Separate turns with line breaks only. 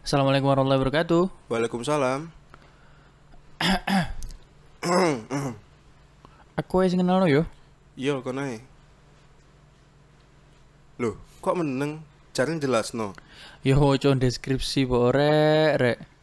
Assalamualaikum warahmatullahi wabarakatuh.
Waalaikumsalam.
Aku wis kenal yo.
Yo, kono ae. Loh, kok meneng? Jarang jelas no.
Yo waca deskripsi po rek rek.